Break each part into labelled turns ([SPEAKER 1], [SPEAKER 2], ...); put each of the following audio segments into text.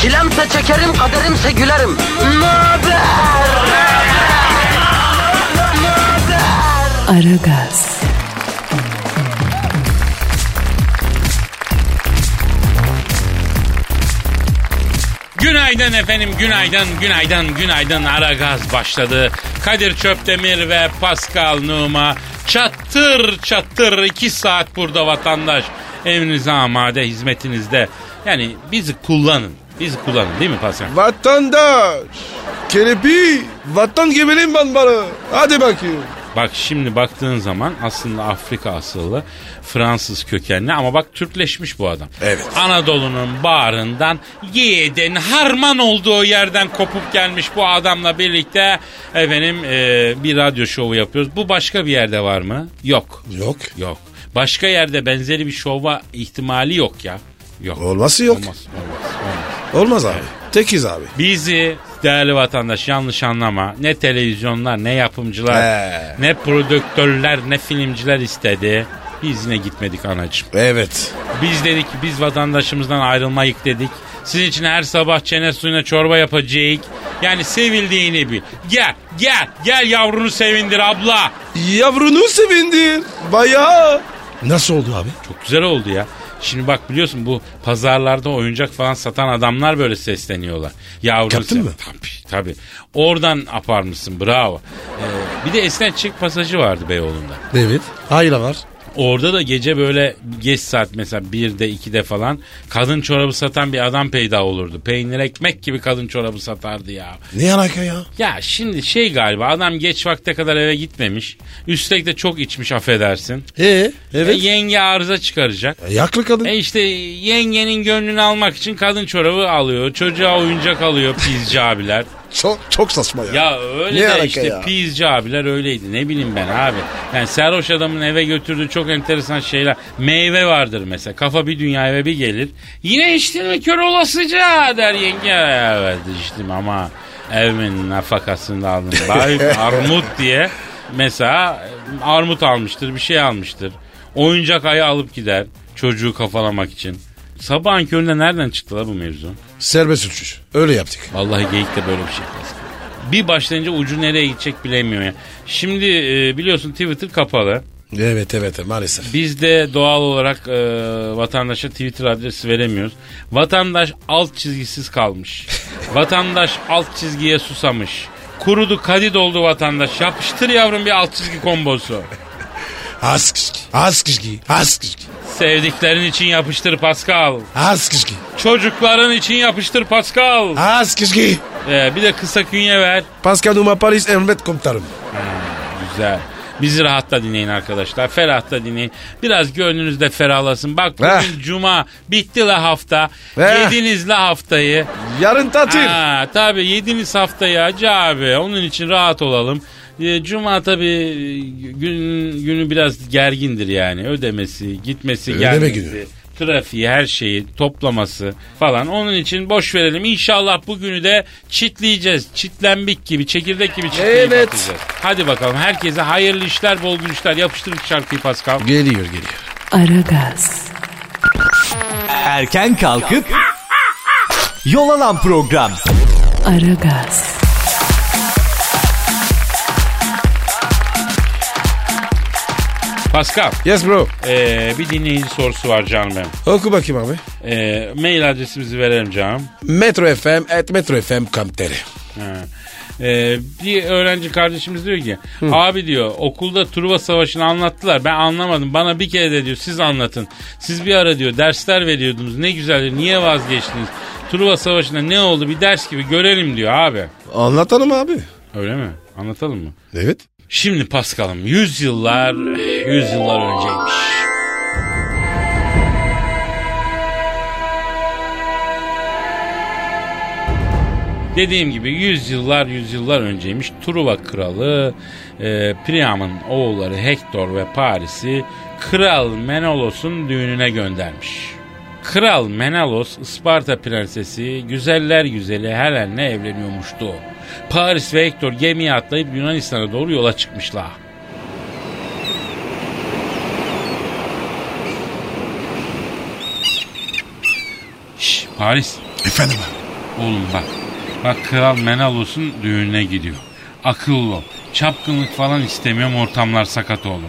[SPEAKER 1] Çilemse çekerim, kaderimse gülerim. Möber!
[SPEAKER 2] Aragaz,
[SPEAKER 3] Günaydın efendim, günaydın, günaydın, günaydın. Ara gaz başladı. Kadir Çöptemir ve Pascal Numa çattır çattır iki saat burada vatandaş. Emrinize amade, hizmetinizde. Yani bizi kullanın, bizi kullanın değil mi Pascal?
[SPEAKER 4] Vatandaş. Kerepi. Vatan gebelim ben bana. Hadi bakayım.
[SPEAKER 3] Bak şimdi baktığın zaman aslında Afrika asıllı Fransız kökenli ama bak Türkleşmiş bu adam.
[SPEAKER 4] Evet.
[SPEAKER 3] Anadolu'nun bağrından yiğidin harman olduğu yerden kopup gelmiş bu adamla birlikte efendim e, bir radyo şovu yapıyoruz. Bu başka bir yerde var mı? Yok.
[SPEAKER 4] Yok.
[SPEAKER 3] Yok. Başka yerde benzeri bir şova ihtimali yok ya. Yok.
[SPEAKER 4] Olması yok.
[SPEAKER 3] Olmaz, olmaz, olmaz.
[SPEAKER 4] Olmaz abi. Tekiz abi.
[SPEAKER 3] Bizi değerli vatandaş yanlış anlama. Ne televizyonlar, ne yapımcılar,
[SPEAKER 4] He.
[SPEAKER 3] ne prodüktörler, ne filmciler istedi. Biz yine gitmedik anacığım.
[SPEAKER 4] Evet.
[SPEAKER 3] Biz dedik ki biz vatandaşımızdan ayrılmayık dedik. Sizin için her sabah çene suyuna çorba yapacağız. Yani sevildiğini bil. Gel, gel, gel yavrunu sevindir abla.
[SPEAKER 4] Yavrunu sevindir. Bayağı. Nasıl oldu abi?
[SPEAKER 3] Çok güzel oldu ya. Şimdi bak biliyorsun bu pazarlarda oyuncak falan satan adamlar böyle sesleniyorlar. Yavrum
[SPEAKER 4] Yaptın
[SPEAKER 3] sen-
[SPEAKER 4] mı?
[SPEAKER 3] Tabii tabii. Oradan aparmışsın bravo. Ee, bir de esnek çık pasajı vardı Beyoğlu'nda.
[SPEAKER 4] Evet. Hayla var.
[SPEAKER 3] Orada da gece böyle geç saat mesela 1'de 2'de falan kadın çorabı satan bir adam peyda olurdu. Peynir ekmek gibi kadın çorabı satardı ya.
[SPEAKER 4] Ne alaka ya?
[SPEAKER 3] Ya şimdi şey galiba adam geç vakte kadar eve gitmemiş. Üstelik de çok içmiş affedersin.
[SPEAKER 4] Ee,
[SPEAKER 3] E, yenge arıza çıkaracak.
[SPEAKER 4] Yaklı kadın.
[SPEAKER 3] E işte yengenin gönlünü almak için kadın çorabı alıyor. Çocuğa oyuncak alıyor pizci abiler.
[SPEAKER 4] Çok çok saçma
[SPEAKER 3] Ya öyle
[SPEAKER 4] Ne
[SPEAKER 3] de
[SPEAKER 4] alaka
[SPEAKER 3] işte
[SPEAKER 4] ya?
[SPEAKER 3] pizci abiler öyleydi. Ne bileyim ben abi. Yani sarhoş adamın eve götürdüğü çok enteresan şeyler. Meyve vardır mesela. Kafa bir dünya eve bir gelir. Yine içtin mi kör olasıca der yenge. Evet içtim ama evimin nafakasını da aldım. Bari armut diye mesela e, armut almıştır bir şey almıştır. Oyuncak ayı alıp gider çocuğu kafalamak için. Sabahın köründe nereden çıktı la bu mevzu?
[SPEAKER 4] Serbest uçuş. Öyle yaptık.
[SPEAKER 3] Vallahi geyik de böyle bir şey lazım. Bir başlayınca ucu nereye gidecek bilemiyor ya. Şimdi e, biliyorsun Twitter kapalı.
[SPEAKER 4] Evet evet maalesef.
[SPEAKER 3] Biz de doğal olarak e, vatandaşa Twitter adresi veremiyoruz. Vatandaş alt çizgisiz kalmış. vatandaş alt çizgiye susamış. Kurudu kadid oldu vatandaş. Yapıştır yavrum bir alt çizgi kombosu.
[SPEAKER 4] Az kışkı. Az kışkı. Az kışkı.
[SPEAKER 3] Sevdiklerin için yapıştır Pascal.
[SPEAKER 4] Az kışkı.
[SPEAKER 3] Çocukların için yapıştır Pascal.
[SPEAKER 4] Az kışkı.
[SPEAKER 3] E, bir de kısa künye ver.
[SPEAKER 4] Pascal Numa Paris Emret Komutanım.
[SPEAKER 3] Güzel. Bizi rahatta dinleyin arkadaşlar. Ferahta dinleyin. Biraz gönlünüz de ferahlasın. Bak bugün
[SPEAKER 4] Eh.
[SPEAKER 3] cuma. Bitti la hafta.
[SPEAKER 4] Eh.
[SPEAKER 3] Yediniz la haftayı.
[SPEAKER 4] Yarın tatil.
[SPEAKER 3] Ha, tabii yediniz haftayı Hacı abi. Onun için rahat olalım. Ee, Cuma tabii e, gün, günü biraz gergindir yani. Ödemesi, gitmesi,
[SPEAKER 4] Ödeme
[SPEAKER 3] gelmesi.
[SPEAKER 4] günü.
[SPEAKER 3] Trafiği, her şeyi, toplaması falan. Onun için boş verelim. İnşallah bugünü de çitleyeceğiz. Çitlenbik gibi, çekirdek gibi çitleyip
[SPEAKER 4] Evet.
[SPEAKER 3] atacağız. Hadi bakalım herkese hayırlı işler, bol gülüşler. Yapıştırın şarkıyı Pascal.
[SPEAKER 4] Geliyor geliyor.
[SPEAKER 2] Aragaz,
[SPEAKER 5] Erken kalkıp yol alan program.
[SPEAKER 2] Aragaz,
[SPEAKER 3] Pascal,
[SPEAKER 4] Yes bro.
[SPEAKER 3] ee, bir dinleyici sorusu var canım benim.
[SPEAKER 4] Oku bakayım abi.
[SPEAKER 3] Ee, mail adresimizi verelim canım.
[SPEAKER 4] Metro FM et Metro FM Kamter.
[SPEAKER 3] Ha. Ee, bir öğrenci kardeşimiz diyor ki abi diyor okulda Truva Savaşı'nı anlattılar ben anlamadım bana bir kere de diyor siz anlatın siz bir ara diyor dersler veriyordunuz ne güzeldi niye vazgeçtiniz Truva Savaşı'nda ne oldu bir ders gibi görelim diyor abi
[SPEAKER 4] Anlatalım abi.
[SPEAKER 3] öyle mi anlatalım mı
[SPEAKER 4] Evet.
[SPEAKER 3] şimdi Paskal'ım yüzyıllar yüzyıllar önceymiş Dediğim gibi yüzyıllar yüzyıllar önceymiş Truva kralı e, Priam'ın oğulları Hektor ve Paris'i Kral Menolos'un düğününe göndermiş. Kral Menelos Isparta prensesi güzeller güzeli Helen'le evleniyormuştu. Paris ve Hektor gemiye atlayıp Yunanistan'a doğru yola çıkmışlar. Şş, Paris
[SPEAKER 6] Efendim abi.
[SPEAKER 3] Oğlum bak. Bak Kral Menalos'un düğününe gidiyor. Akıllı ol. Çapkınlık falan istemiyorum ortamlar sakat oğlum.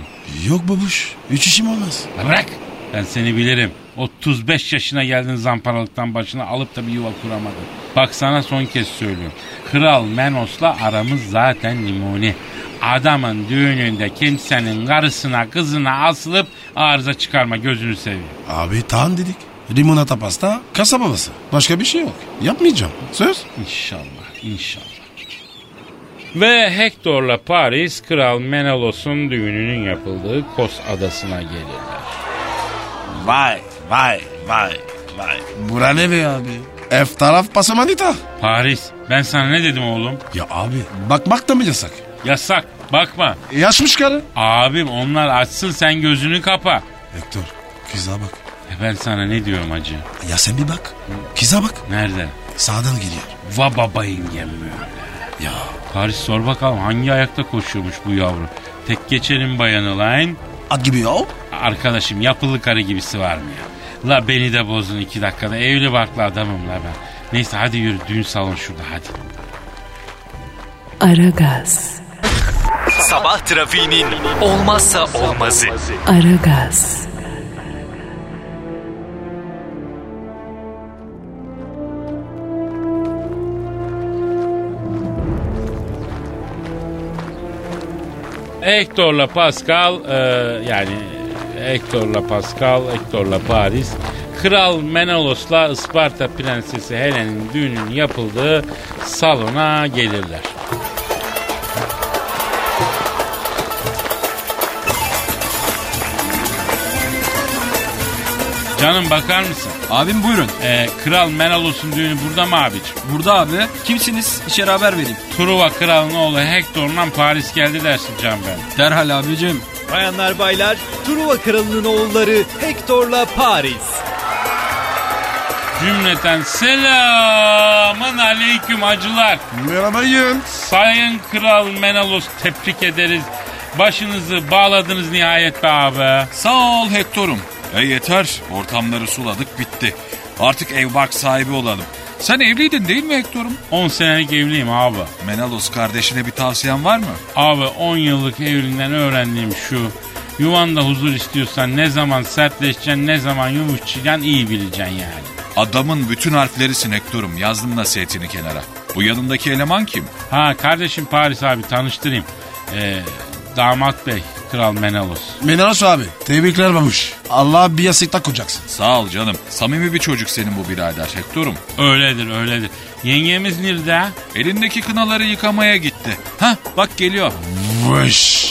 [SPEAKER 6] Yok babuş. Üç işim olmaz.
[SPEAKER 3] Bırak. Ben seni bilirim. 35 yaşına geldin zamparalıktan başına alıp da bir yuva kuramadın. Bak sana son kez söylüyorum. Kral Menos'la aramız zaten limoni. Adamın düğününde kimsenin karısına kızına asılıp arıza çıkarma gözünü seveyim.
[SPEAKER 6] Abi tan dedik. Limonata pasta, kasa babası. Başka bir şey yok. Yapmayacağım. Söz.
[SPEAKER 3] İnşallah, inşallah. Ve Hector'la Paris, Kral Menelos'un düğününün yapıldığı Kos Adası'na gelirler.
[SPEAKER 6] Vay, vay, vay, vay. Bura ne be abi? F taraf pasamanita.
[SPEAKER 3] Paris, ben sana ne dedim oğlum?
[SPEAKER 6] Ya abi bakmak da mı yasak?
[SPEAKER 3] Yasak, bakma.
[SPEAKER 6] E, yaşmış karı.
[SPEAKER 3] Abim onlar açsın sen gözünü kapa.
[SPEAKER 6] Hector kıza bak.
[SPEAKER 3] E ben sana ne diyorum acı?
[SPEAKER 6] Ya sen bir bak. Kıza bak.
[SPEAKER 3] Nerede?
[SPEAKER 6] Sağdan geliyor.
[SPEAKER 3] Va babayın gelmiyor.
[SPEAKER 6] Ya
[SPEAKER 3] Paris sor bakalım hangi ayakta koşuyormuş bu yavru? Tek geçelim bayanı lan.
[SPEAKER 6] at gibi ya.
[SPEAKER 3] Arkadaşım yapılı karı gibisi var mı ya? La beni de bozdun iki dakikada. Evli barklı adamım la ben. Neyse hadi yürü düğün salonu şurada hadi.
[SPEAKER 2] Aragaz,
[SPEAKER 5] Sabah trafiğinin olmazsa olmazı.
[SPEAKER 2] Aragaz,
[SPEAKER 3] Hector'la Pascal e, yani Hector'la Pascal, Hector'la Paris. Kral Menelos'la Isparta Prensesi Helen'in düğünün yapıldığı salona gelirler. Canım bakar mısın?
[SPEAKER 7] Abim buyurun.
[SPEAKER 3] E, Kral Menelos'un düğünü burada mı abicim?
[SPEAKER 7] Burada abi. Kimsiniz? İçeri haber vereyim.
[SPEAKER 3] Truva kralının oğlu Hector'la Paris geldi dersin can ben.
[SPEAKER 7] Derhal abicim.
[SPEAKER 5] Bayanlar baylar, Truva Kralı'nın oğulları Hector'la Paris.
[SPEAKER 3] Cümleten selamın aleyküm hacılar.
[SPEAKER 4] Merhaba Yıldız.
[SPEAKER 3] Sayın Kral Menalos tebrik ederiz. Başınızı bağladınız nihayet be abi.
[SPEAKER 8] Sağ ol Hector'um. E yeter. Ortamları suladık bitti. Artık ev bark sahibi olalım. Sen evliydin değil mi Hector'um?
[SPEAKER 3] 10 senelik evliyim abi.
[SPEAKER 8] Menalos kardeşine bir tavsiyen var mı?
[SPEAKER 3] Abi 10 yıllık evliliğinden öğrendiğim şu. Yuvanda huzur istiyorsan ne zaman sertleşeceksin ne zaman yumuşayacaksın iyi bileceksin yani.
[SPEAKER 8] Adamın bütün harflerisin Hector'um. Yazdım nasihatini kenara. Bu yanındaki eleman kim?
[SPEAKER 3] Ha kardeşim Paris abi tanıştırayım. Ee, damat bey Kral Menalos.
[SPEAKER 6] Menaros abi. Tebrikler babuş. Allah bir yasıkta koyacaksın.
[SPEAKER 8] Sağ ol canım. Samimi bir çocuk senin bu birader Hector'um.
[SPEAKER 3] Öyledir öyledir. Yengemiz nerede?
[SPEAKER 8] Elindeki kınaları yıkamaya gitti. Hah bak geliyor.
[SPEAKER 6] Vış.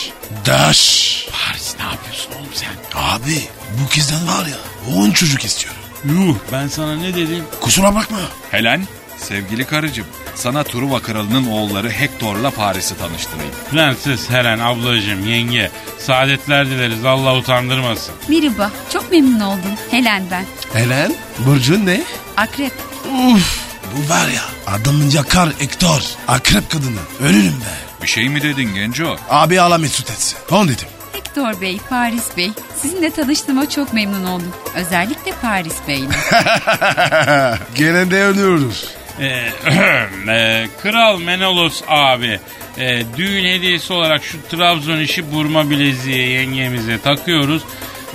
[SPEAKER 6] Daş.
[SPEAKER 3] Paris ne yapıyorsun oğlum sen?
[SPEAKER 6] Abi bu kızdan var ya on çocuk istiyorum.
[SPEAKER 3] Yuh ben sana ne dedim?
[SPEAKER 6] Kusura bakma.
[SPEAKER 8] Helen, sevgili karıcığım. Sana Truva kralının oğulları Hector'la Paris'i tanıştırayım.
[SPEAKER 3] Prenses Helen ablacığım yenge. Saadetler dileriz Allah utandırmasın.
[SPEAKER 9] Merhaba, çok memnun oldum. Helen ben.
[SPEAKER 6] Helen burcun ne?
[SPEAKER 9] Akrep.
[SPEAKER 6] Uf. Bu var ya adamın yakar Hector. Akrep kadını. Ölürüm be.
[SPEAKER 8] Bir şey mi dedin Genco?
[SPEAKER 6] Abi Allah mesut etsin. On dedim.
[SPEAKER 9] Hector Bey, Paris Bey. Sizinle tanıştığıma çok memnun oldum. Özellikle Paris Bey'le.
[SPEAKER 6] Gene de ölüyoruz.
[SPEAKER 3] Ee, ee, Kral Menolos abi ee, düğün hediyesi olarak şu Trabzon işi burma bileziği yengemize takıyoruz.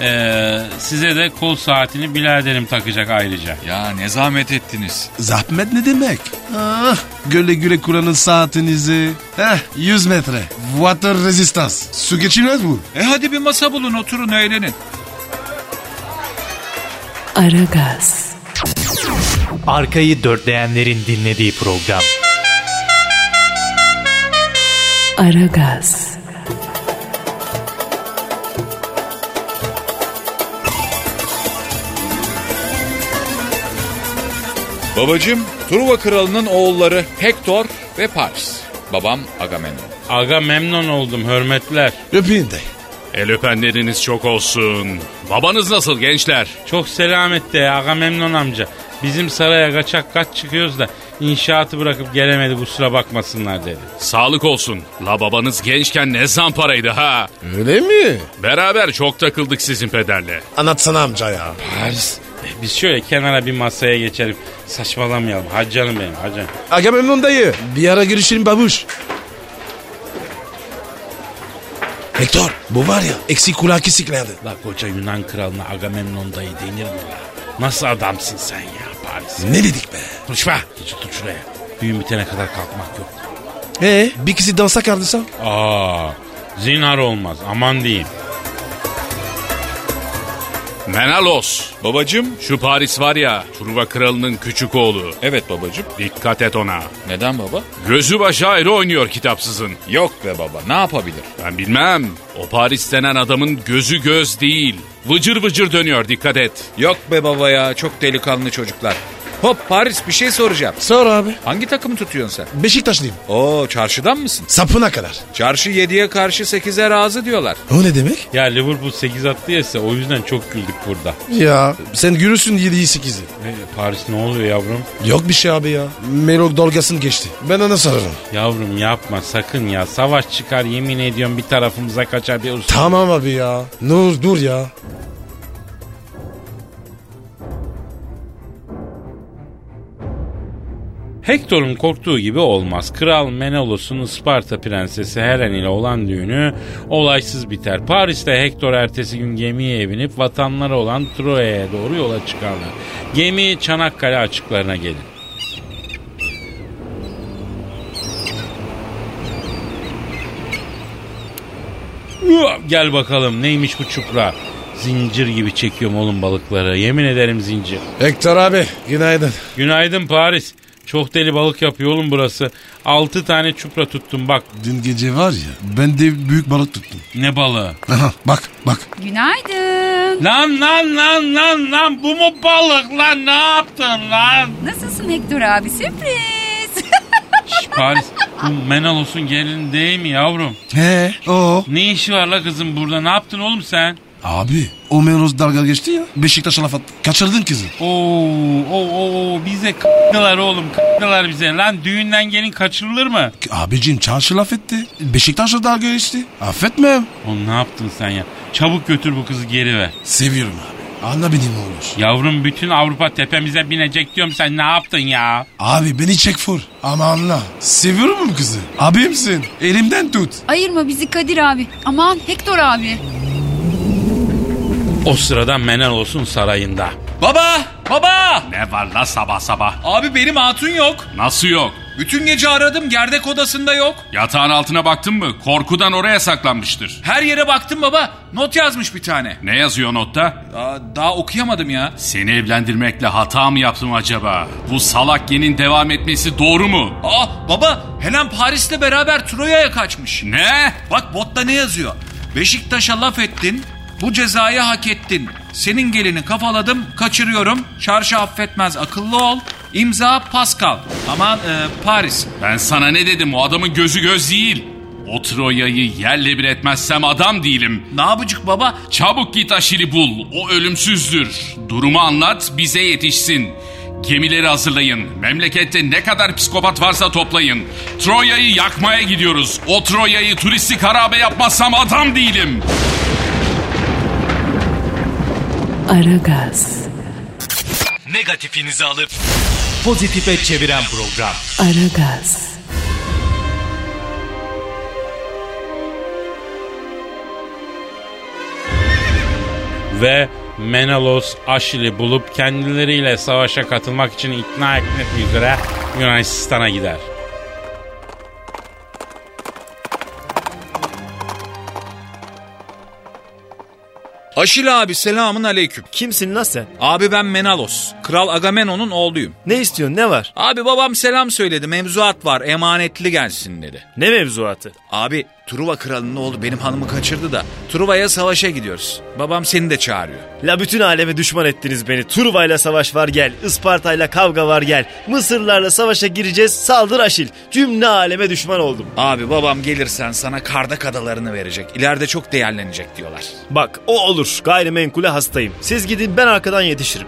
[SPEAKER 3] Ee, size de kol saatini biladerim takacak ayrıca.
[SPEAKER 8] Ya ne zahmet ettiniz.
[SPEAKER 6] Zahmet ne demek? Ah, göle güle kuranın saatinizi. Heh, 100 metre. Water resistance. Su geçirmez bu.
[SPEAKER 8] E hadi bir masa bulun oturun eğlenin.
[SPEAKER 2] Aragaz,
[SPEAKER 5] Arkayı dörtleyenlerin dinlediği program.
[SPEAKER 2] Aragaz,
[SPEAKER 8] Babacım Truva kralının oğulları Hector ve Paris. Babam Agamemnon.
[SPEAKER 3] Aga memnun oldum hürmetler.
[SPEAKER 6] Öpeyim de.
[SPEAKER 10] El öpenleriniz çok olsun. Babanız nasıl gençler?
[SPEAKER 3] Çok selamet de aga memnun amca. Bizim saraya kaçak kaç çıkıyoruz da inşaatı bırakıp gelemedi kusura bakmasınlar dedi.
[SPEAKER 10] Sağlık olsun. La babanız gençken ne zamparaydı ha?
[SPEAKER 6] Öyle mi?
[SPEAKER 10] Beraber çok takıldık sizin pederle.
[SPEAKER 6] Anlatsana amca ya.
[SPEAKER 3] Paris. e, Biz şöyle kenara bir masaya geçelim. Saçmalamayalım. Hacı canım benim hacı.
[SPEAKER 6] Agamemnon dayı. Bir ara görüşelim babuş. Hector bu var ya eksik kulağı kesiklerdi.
[SPEAKER 3] La koca Yunan kralına Agamemnon dayı denir mi la? Nasıl adamsın sen ya Paris?
[SPEAKER 6] Ne dedik be?
[SPEAKER 3] Konuşma. Geç otur şuraya. Düğün bitene kadar kalkmak yok.
[SPEAKER 6] Ee, bir kişi dansa kaldıysa?
[SPEAKER 3] Aa, zinhar olmaz. Aman diyeyim.
[SPEAKER 10] Menalos.
[SPEAKER 8] Babacım
[SPEAKER 10] Şu Paris var ya Truva kralının küçük oğlu.
[SPEAKER 8] evet babacım.
[SPEAKER 10] Dikkat et ona.
[SPEAKER 8] Neden baba?
[SPEAKER 10] Gözü başı ayrı oynuyor kitapsızın.
[SPEAKER 8] Yok be baba ne yapabilir?
[SPEAKER 10] Ben bilmem. O Paris denen adamın gözü göz değil. Vıcır vıcır dönüyor dikkat et.
[SPEAKER 8] Yok be baba ya çok delikanlı çocuklar. Hop Paris bir şey soracağım.
[SPEAKER 6] Sor abi.
[SPEAKER 8] Hangi takımı tutuyorsun sen?
[SPEAKER 6] Beşiktaşlıyım.
[SPEAKER 8] Oo çarşıdan mısın?
[SPEAKER 6] Sapına kadar.
[SPEAKER 8] Çarşı 7'ye karşı 8'e razı diyorlar.
[SPEAKER 6] O ne demek?
[SPEAKER 3] Ya Liverpool 8 attı ya size, o yüzden çok güldük burada.
[SPEAKER 6] Ya sen görürsün 7'yi 8'i.
[SPEAKER 3] E, Paris ne oluyor yavrum?
[SPEAKER 6] Yok bir şey abi ya. Melok dalgasını geçti. Ben ona sararım.
[SPEAKER 3] Yavrum yapma sakın ya. Savaş çıkar yemin ediyorum bir tarafımıza kaçar bir usta.
[SPEAKER 6] Tamam abi ya. Nur dur ya.
[SPEAKER 3] Hector'un korktuğu gibi olmaz. Kral Menelos'un Isparta prensesi Helen ile olan düğünü olaysız biter. Paris'te Hector ertesi gün gemiye binip vatanları olan Troya'ya doğru yola çıkarlar. Gemi Çanakkale açıklarına gelir. Uah, Gel bakalım neymiş bu çupra? Zincir gibi çekiyorum oğlum balıkları. Yemin ederim zincir.
[SPEAKER 6] Hector abi günaydın.
[SPEAKER 3] Günaydın Paris. Çok deli balık yapıyor oğlum burası. 6 tane çupra tuttum bak.
[SPEAKER 6] Dün gece var ya ben de büyük balık tuttum.
[SPEAKER 3] Ne balığı?
[SPEAKER 6] Aha bak bak.
[SPEAKER 9] Günaydın.
[SPEAKER 3] Lan lan lan lan lan bu mu balık lan ne yaptın lan?
[SPEAKER 9] Nasılsın Hector abi? Sürpriz.
[SPEAKER 3] Şş, Paris bu Menalos'un gelini değil mi yavrum?
[SPEAKER 6] He o.
[SPEAKER 3] Ne işi var la kızım burada ne yaptın oğlum sen?
[SPEAKER 6] Abi o Melok dalga geçti ya. Beşiktaş'a laf attı. Kaçırdın kızı.
[SPEAKER 3] Oo, oo, oo, oo, bize k***lar oğlum k***lar bize. Lan düğünden gelin kaçırılır mı?
[SPEAKER 6] Abicim çarşı laf etti. Beşiktaş'a dalga geçti. Affetmem.
[SPEAKER 3] Oğlum ne yaptın sen ya? Çabuk götür bu kızı geri ver.
[SPEAKER 6] Seviyorum abi. Anla beni ne olur.
[SPEAKER 3] Yavrum bütün Avrupa tepemize binecek diyorum sen ne yaptın ya?
[SPEAKER 6] Abi beni çek fur. Ama anla. Seviyorum bu kızı. Abimsin. Elimden tut.
[SPEAKER 9] Ayırma bizi Kadir abi. Aman Hector abi.
[SPEAKER 3] O sırada Menelos'un sarayında.
[SPEAKER 8] Baba! Baba!
[SPEAKER 10] Ne var la sabah sabah?
[SPEAKER 8] Abi benim hatun yok.
[SPEAKER 10] Nasıl yok?
[SPEAKER 8] Bütün gece aradım gerdek odasında yok.
[SPEAKER 10] Yatağın altına baktın mı? Korkudan oraya saklanmıştır.
[SPEAKER 8] Her yere baktım baba. Not yazmış bir tane.
[SPEAKER 10] Ne yazıyor notta?
[SPEAKER 8] Daha, daha okuyamadım ya.
[SPEAKER 10] Seni evlendirmekle hata mı yaptım acaba? Bu salak yenin devam etmesi doğru mu?
[SPEAKER 8] Aa baba Helen Paris'le beraber Troya'ya kaçmış.
[SPEAKER 10] Ne?
[SPEAKER 8] Bak botta ne yazıyor? Beşiktaş'a laf ettin. Bu cezayı hak ettin. Senin gelini kafaladım, kaçırıyorum. Çarşı affetmez, akıllı ol. İmza Pascal. Aman e, Paris.
[SPEAKER 10] Ben sana ne dedim o adamın gözü göz değil. O Troya'yı yerle bir etmezsem adam değilim.
[SPEAKER 8] Ne yapıcık baba?
[SPEAKER 10] Çabuk git Aşil'i bul. O ölümsüzdür. Durumu anlat, bize yetişsin. Gemileri hazırlayın. Memlekette ne kadar psikopat varsa toplayın. Troya'yı yakmaya gidiyoruz. O Troya'yı turistik harabe yapmazsam adam değilim.
[SPEAKER 2] Aragaz,
[SPEAKER 5] Negatifinizi alıp pozitife çeviren program.
[SPEAKER 2] Aragaz,
[SPEAKER 3] ve Menelos Aşil'i bulup kendileriyle savaşa katılmak için ikna etmek üzere Yunanistan'a gider.
[SPEAKER 8] Aşil abi selamun aleyküm.
[SPEAKER 5] Kimsin lan sen?
[SPEAKER 8] Abi ben Menalos. Kral Agamemnon'un oğluyum.
[SPEAKER 5] Ne istiyorsun ne var?
[SPEAKER 8] Abi babam selam söyledi. Mevzuat var, emanetli gelsin dedi.
[SPEAKER 5] Ne mevzuatı?
[SPEAKER 8] Abi Truva kralının oğlu benim hanımı kaçırdı da Truva'ya savaşa gidiyoruz. Babam seni de çağırıyor.
[SPEAKER 11] La bütün aleme düşman ettiniz beni. Turva'yla savaş var gel. Isparta'yla kavga var gel. Mısırlarla savaşa gireceğiz. Saldır Aşil. Cümle aleme düşman oldum.
[SPEAKER 8] Abi babam gelirsen sana kardak adalarını verecek. İleride çok değerlenecek diyorlar.
[SPEAKER 11] Bak o olur. Gayrimenkule hastayım. Siz gidin ben arkadan yetişirim.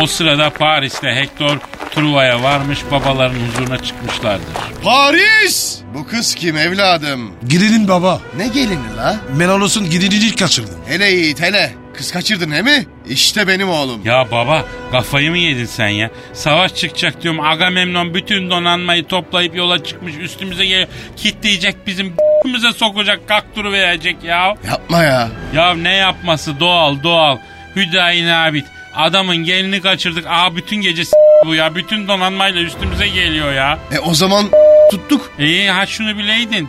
[SPEAKER 3] O sırada Paris'te Hector Truva'ya varmış babaların huzuruna çıkmışlardır.
[SPEAKER 12] Paris! Bu kız kim evladım?
[SPEAKER 6] Gelinin baba.
[SPEAKER 12] Ne gelini la?
[SPEAKER 6] Ben olsun gelinini kaçırdım.
[SPEAKER 12] Hele Yiğit hele. Kız kaçırdın he mi? İşte benim oğlum.
[SPEAKER 3] Ya baba kafayı mı yedin sen ya? Savaş çıkacak diyorum Agamemnon bütün donanmayı toplayıp yola çıkmış üstümüze geliyor. Kitleyecek bizim bize sokacak kakturu verecek ya.
[SPEAKER 12] Yapma ya.
[SPEAKER 3] Ya ne yapması doğal doğal. Hüdayi Nabit. Adamın gelini kaçırdık. Aa bütün gece s- bu ya. Bütün donanmayla üstümüze geliyor ya.
[SPEAKER 12] E o zaman tuttuk.
[SPEAKER 3] İyi ha şunu bileydin.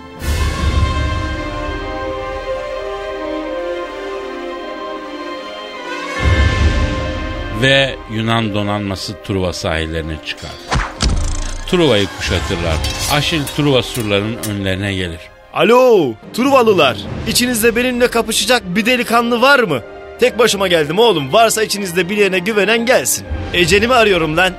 [SPEAKER 3] Ve Yunan donanması Truva sahillerine çıkar. Truva'yı kuşatırlar. Aşil Truva surlarının önlerine gelir.
[SPEAKER 11] Alo Truvalılar. İçinizde benimle kapışacak bir delikanlı var mı? Tek başıma geldim oğlum. Varsa içinizde birine güvenen gelsin. Ecenimi arıyorum lan.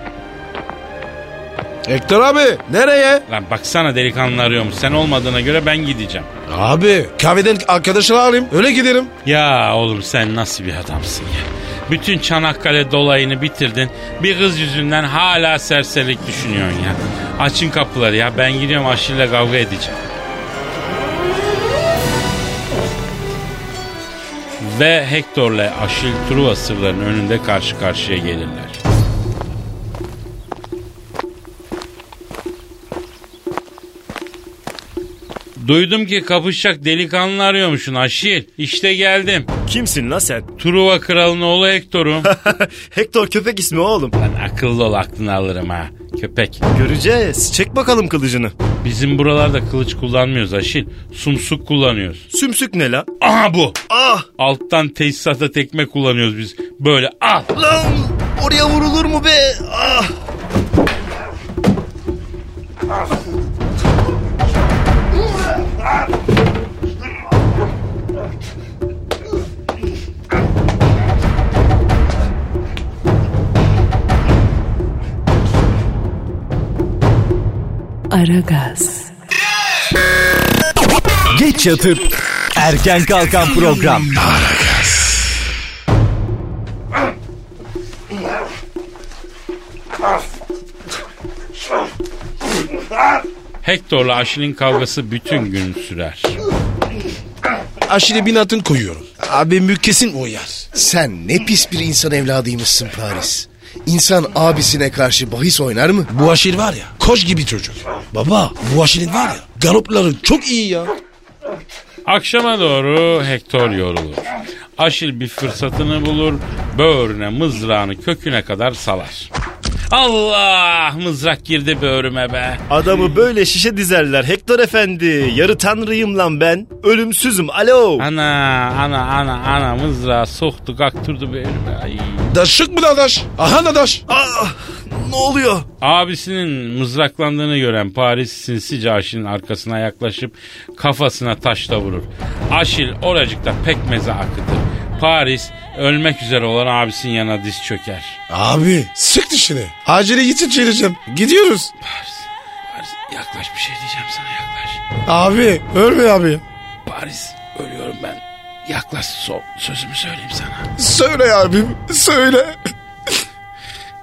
[SPEAKER 4] Hector abi nereye?
[SPEAKER 3] Lan baksana delikanlı arıyormuş. Sen olmadığına göre ben gideceğim.
[SPEAKER 4] Abi kahveden arkadaşını alayım öyle giderim.
[SPEAKER 3] Ya oğlum sen nasıl bir adamsın ya? Bütün Çanakkale dolayını bitirdin. Bir kız yüzünden hala serserilik düşünüyorsun ya. Açın kapıları ya. Ben gidiyorum Aşil'le kavga edeceğim. Ve Hector'la Aşil Truva sırlarının önünde karşı karşıya gelirler. Duydum ki kapışacak delikanlı arıyormuşsun Aşil. İşte geldim.
[SPEAKER 11] Kimsin la sen?
[SPEAKER 3] Truva kralının oğlu Hector'um.
[SPEAKER 11] Hector köpek ismi oğlum.
[SPEAKER 3] Lan akıllı ol aklını alırım ha. Köpek.
[SPEAKER 11] Göreceğiz. Çek bakalım kılıcını.
[SPEAKER 3] Bizim buralarda kılıç kullanmıyoruz Aşil. Sumsuk kullanıyoruz.
[SPEAKER 11] Sümsük ne la?
[SPEAKER 3] Aha bu.
[SPEAKER 11] Ah!
[SPEAKER 3] Alttan tesisata tekme kullanıyoruz biz. Böyle ah. al.
[SPEAKER 11] Lan oraya vurulur mu be? Ah!
[SPEAKER 2] Aragaz,
[SPEAKER 5] Geç yatıp erken kalkan program.
[SPEAKER 3] Hector'la Aşil'in kavgası bütün gün sürer.
[SPEAKER 4] Aşile bin atın koyuyorum. Abi kesin uyar.
[SPEAKER 12] Sen ne pis bir insan evladıymışsın Paris. İnsan abisine karşı bahis oynar mı?
[SPEAKER 4] Bu aşil var ya koç gibi çocuk. Baba bu aşilin var ya galopları çok iyi ya.
[SPEAKER 3] Akşama doğru Hector yorulur. Aşil bir fırsatını bulur, böğrüne mızrağını köküne kadar salar. Allah mızrak girdi böğrüme be.
[SPEAKER 11] Adamı böyle şişe dizerler Hector efendi. Yarı tanrıyım lan ben. Ölümsüzüm. Alo.
[SPEAKER 3] Ana ana ana ana mızrağı soktu kaktırdı böğrüme. Ay.
[SPEAKER 4] Daşık mı dadaş? Aha dadaş.
[SPEAKER 11] Ah! Ne oluyor?
[SPEAKER 3] Abisinin mızraklandığını gören Paris sinsice Aşil'in arkasına yaklaşıp kafasına taşla vurur. Aşil oracıkta pekmeze akıtır. Paris ölmek üzere olan abisinin yanına diz çöker.
[SPEAKER 4] Abi sık dişini. Acele gitsin çeleceğim. Gidiyoruz.
[SPEAKER 3] Paris yaklaş bir şey diyeceğim sana yaklaş.
[SPEAKER 4] Abi ölme abi.
[SPEAKER 3] Paris ölüyorum ben. Yaklaş so- sözümü söyleyeyim sana.
[SPEAKER 4] Söyle abim söyle.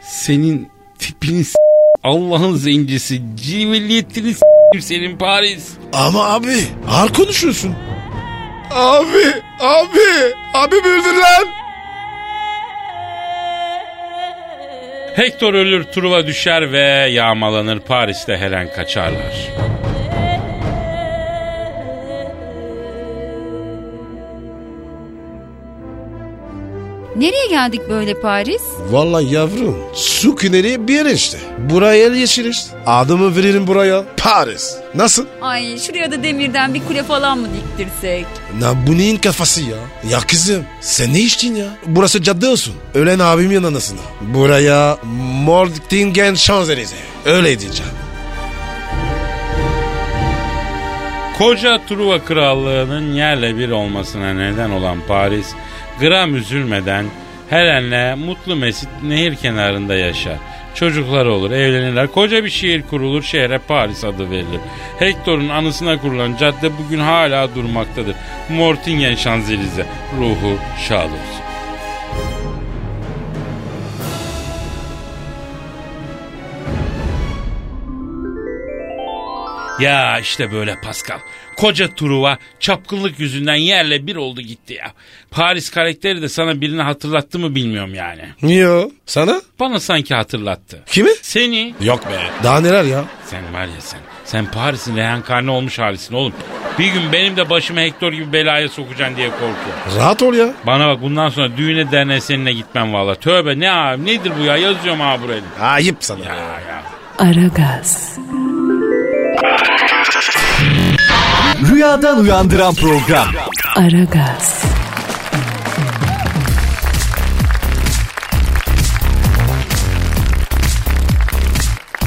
[SPEAKER 3] Senin tipini s- Allah'ın zencisi civiliyetini s- senin Paris.
[SPEAKER 4] Ama abi ağır konuşuyorsun. Abi abi abi öldür lan.
[SPEAKER 3] Hector ölür, Truva düşer ve yağmalanır. Paris'te Helen kaçarlar.
[SPEAKER 9] Nereye geldik böyle Paris?
[SPEAKER 4] Vallahi yavrum su küneri bir yer işte. Buraya el yeşil işte. Adımı veririm buraya. Paris. Nasıl?
[SPEAKER 9] Ay şuraya da demirden bir kule falan mı diktirsek?
[SPEAKER 4] Na bu neyin kafası ya? Ya kızım sen ne içtin ya? Burası cadde olsun. Ölen abimin anasına. Buraya Mordingen Şanzelize. Öyle diyeceğim.
[SPEAKER 3] Koca Truva Krallığı'nın yerle bir olmasına neden olan Paris, gram üzülmeden Helen'le mutlu mesut nehir kenarında yaşar. Çocuklar olur, evlenirler. Koca bir şehir kurulur, şehre Paris adı verilir. Hector'un anısına kurulan cadde bugün hala durmaktadır. Mortingen Şanzelize, ruhu şad olsun. Ya işte böyle Pascal. Koca Truva çapkınlık yüzünden yerle bir oldu gitti ya. Paris karakteri de sana birini hatırlattı mı bilmiyorum yani.
[SPEAKER 4] Yo sana?
[SPEAKER 3] Bana sanki hatırlattı.
[SPEAKER 4] Kimi?
[SPEAKER 3] Seni.
[SPEAKER 4] Yok be. Daha neler ya?
[SPEAKER 3] Sen var ya sen. Sen Paris'in reenkarni olmuş halisin oğlum. Bir gün benim de başımı Hector gibi belaya sokacaksın diye korkuyorum.
[SPEAKER 4] Rahat ol ya.
[SPEAKER 3] Bana bak bundan sonra düğüne derneğe seninle gitmem valla. Tövbe ne abi nedir bu ya yazıyorum abi buraya.
[SPEAKER 4] Ayıp sana.
[SPEAKER 3] Ya ya.
[SPEAKER 2] Aragaz,
[SPEAKER 5] Rüyadan uyandıran program.
[SPEAKER 2] Aragaz,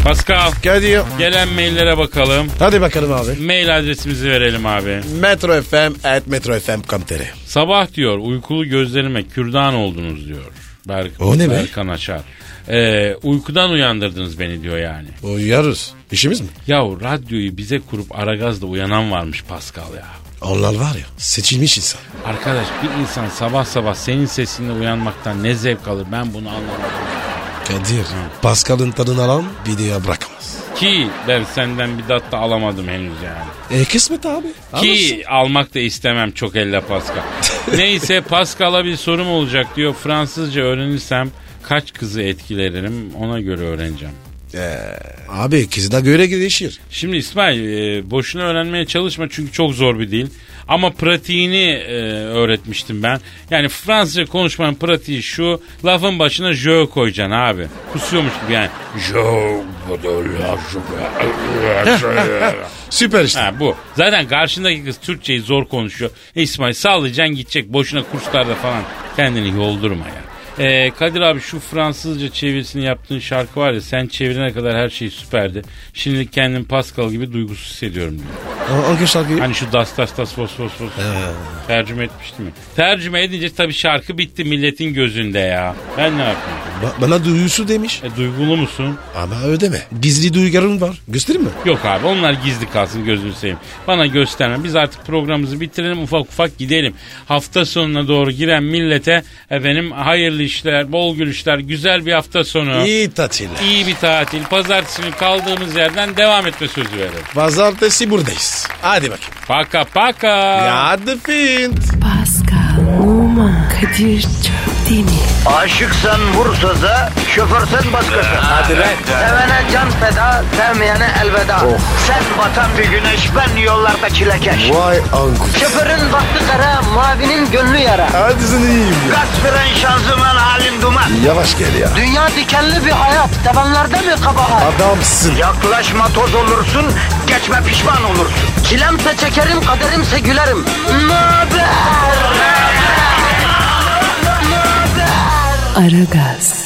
[SPEAKER 3] Pascal.
[SPEAKER 4] Kadir.
[SPEAKER 3] Gelen maillere bakalım.
[SPEAKER 4] Hadi bakalım abi.
[SPEAKER 3] Mail adresimizi verelim abi.
[SPEAKER 4] Metro FM at Metro FM .com.tr.
[SPEAKER 3] Sabah diyor uykulu gözlerime kürdan oldunuz diyor. Berk,
[SPEAKER 4] O ne be?
[SPEAKER 3] Berkan Açar. Ee, uykudan uyandırdınız beni diyor yani.
[SPEAKER 4] Uyarız. İşimiz mi?
[SPEAKER 3] Yahu radyoyu bize kurup Aragaz'da uyanan varmış Pascal ya.
[SPEAKER 4] Onlar var ya seçilmiş insan.
[SPEAKER 3] Arkadaş bir insan sabah sabah senin sesinle uyanmaktan ne zevk alır ben bunu anlamadım.
[SPEAKER 4] Kadir. Pascal'ın tadını alan bir diye bırakamaz.
[SPEAKER 3] Ki ben senden bir dat da alamadım henüz yani.
[SPEAKER 4] E kısmet abi. Alırsın.
[SPEAKER 3] Ki almak da istemem çok elle Pascal. Neyse Pascal'a bir sorum olacak diyor. Fransızca öğrenirsem kaç kızı etkilerim ona göre öğreneceğim.
[SPEAKER 4] Ee, abi kızına göre değişir.
[SPEAKER 3] Şimdi İsmail e, boşuna öğrenmeye çalışma çünkü çok zor bir dil. Ama pratiğini e, öğretmiştim ben. Yani Fransızca konuşmanın pratiği şu. Lafın başına jö koyacaksın abi. Kusuyormuş gibi yani. Jö.
[SPEAKER 4] Süper işte.
[SPEAKER 3] Ha bu. Zaten karşındaki kız Türkçeyi zor konuşuyor. E, İsmail sallayacaksın gidecek. Boşuna kurslarda falan kendini yoldurma ya. E, Kadir abi şu Fransızca çevirisini yaptığın şarkı var ya sen çevirene kadar her şey süperdi. Şimdi kendim Pascal gibi duygusuz hissediyorum diyor.
[SPEAKER 4] Ha, Hangi şarkıyı?
[SPEAKER 3] Hani şu das das das vos vos vos tercüme etmiştim ya. Tercüme edince tabii şarkı bitti milletin gözünde ya. Ben ne yapayım?
[SPEAKER 4] Ba- bana duyusu demiş.
[SPEAKER 3] E, duygulu musun?
[SPEAKER 4] Ama ödeme. Gizli duyuların var. Göstereyim mi?
[SPEAKER 3] Yok abi onlar gizli kalsın gözünü seveyim. Bana gösterme. Biz artık programımızı bitirelim ufak ufak gidelim. Hafta sonuna doğru giren millete efendim hayırlı işler, bol gülüşler, güzel bir hafta sonu. İyi,
[SPEAKER 4] İyi tatil.
[SPEAKER 3] bir tatil. Pazartesi günü kaldığımız yerden devam etme sözü verelim.
[SPEAKER 4] Pazartesi buradayız. Hadi bakayım.
[SPEAKER 3] Paka paka.
[SPEAKER 4] Ya hadi Fint.
[SPEAKER 2] Pascal, Oman, Kadir çok değil mi?
[SPEAKER 1] Aşıksan vursa da, şoförsen başkasın. Hadi Sevene can feda, sevmeyene elveda. Sen batan bir güneş, ben yollarda çilekeş.
[SPEAKER 11] Oh.
[SPEAKER 12] Vay anku.
[SPEAKER 1] Şoförün baktı kara, mavinin gönlü yara.
[SPEAKER 12] Hadi sen iyiyim ya.
[SPEAKER 1] Kasperen şanzıman halin duman.
[SPEAKER 12] Yavaş gel ya.
[SPEAKER 1] Dünya dikenli bir hayat, sevenlerde mi kabahar?
[SPEAKER 12] Adamsın.
[SPEAKER 1] Yaklaşma toz olursun, geçme pişman olursun. Çilemse çekerim, kaderimse gülerim. Möber!
[SPEAKER 2] Aragaz.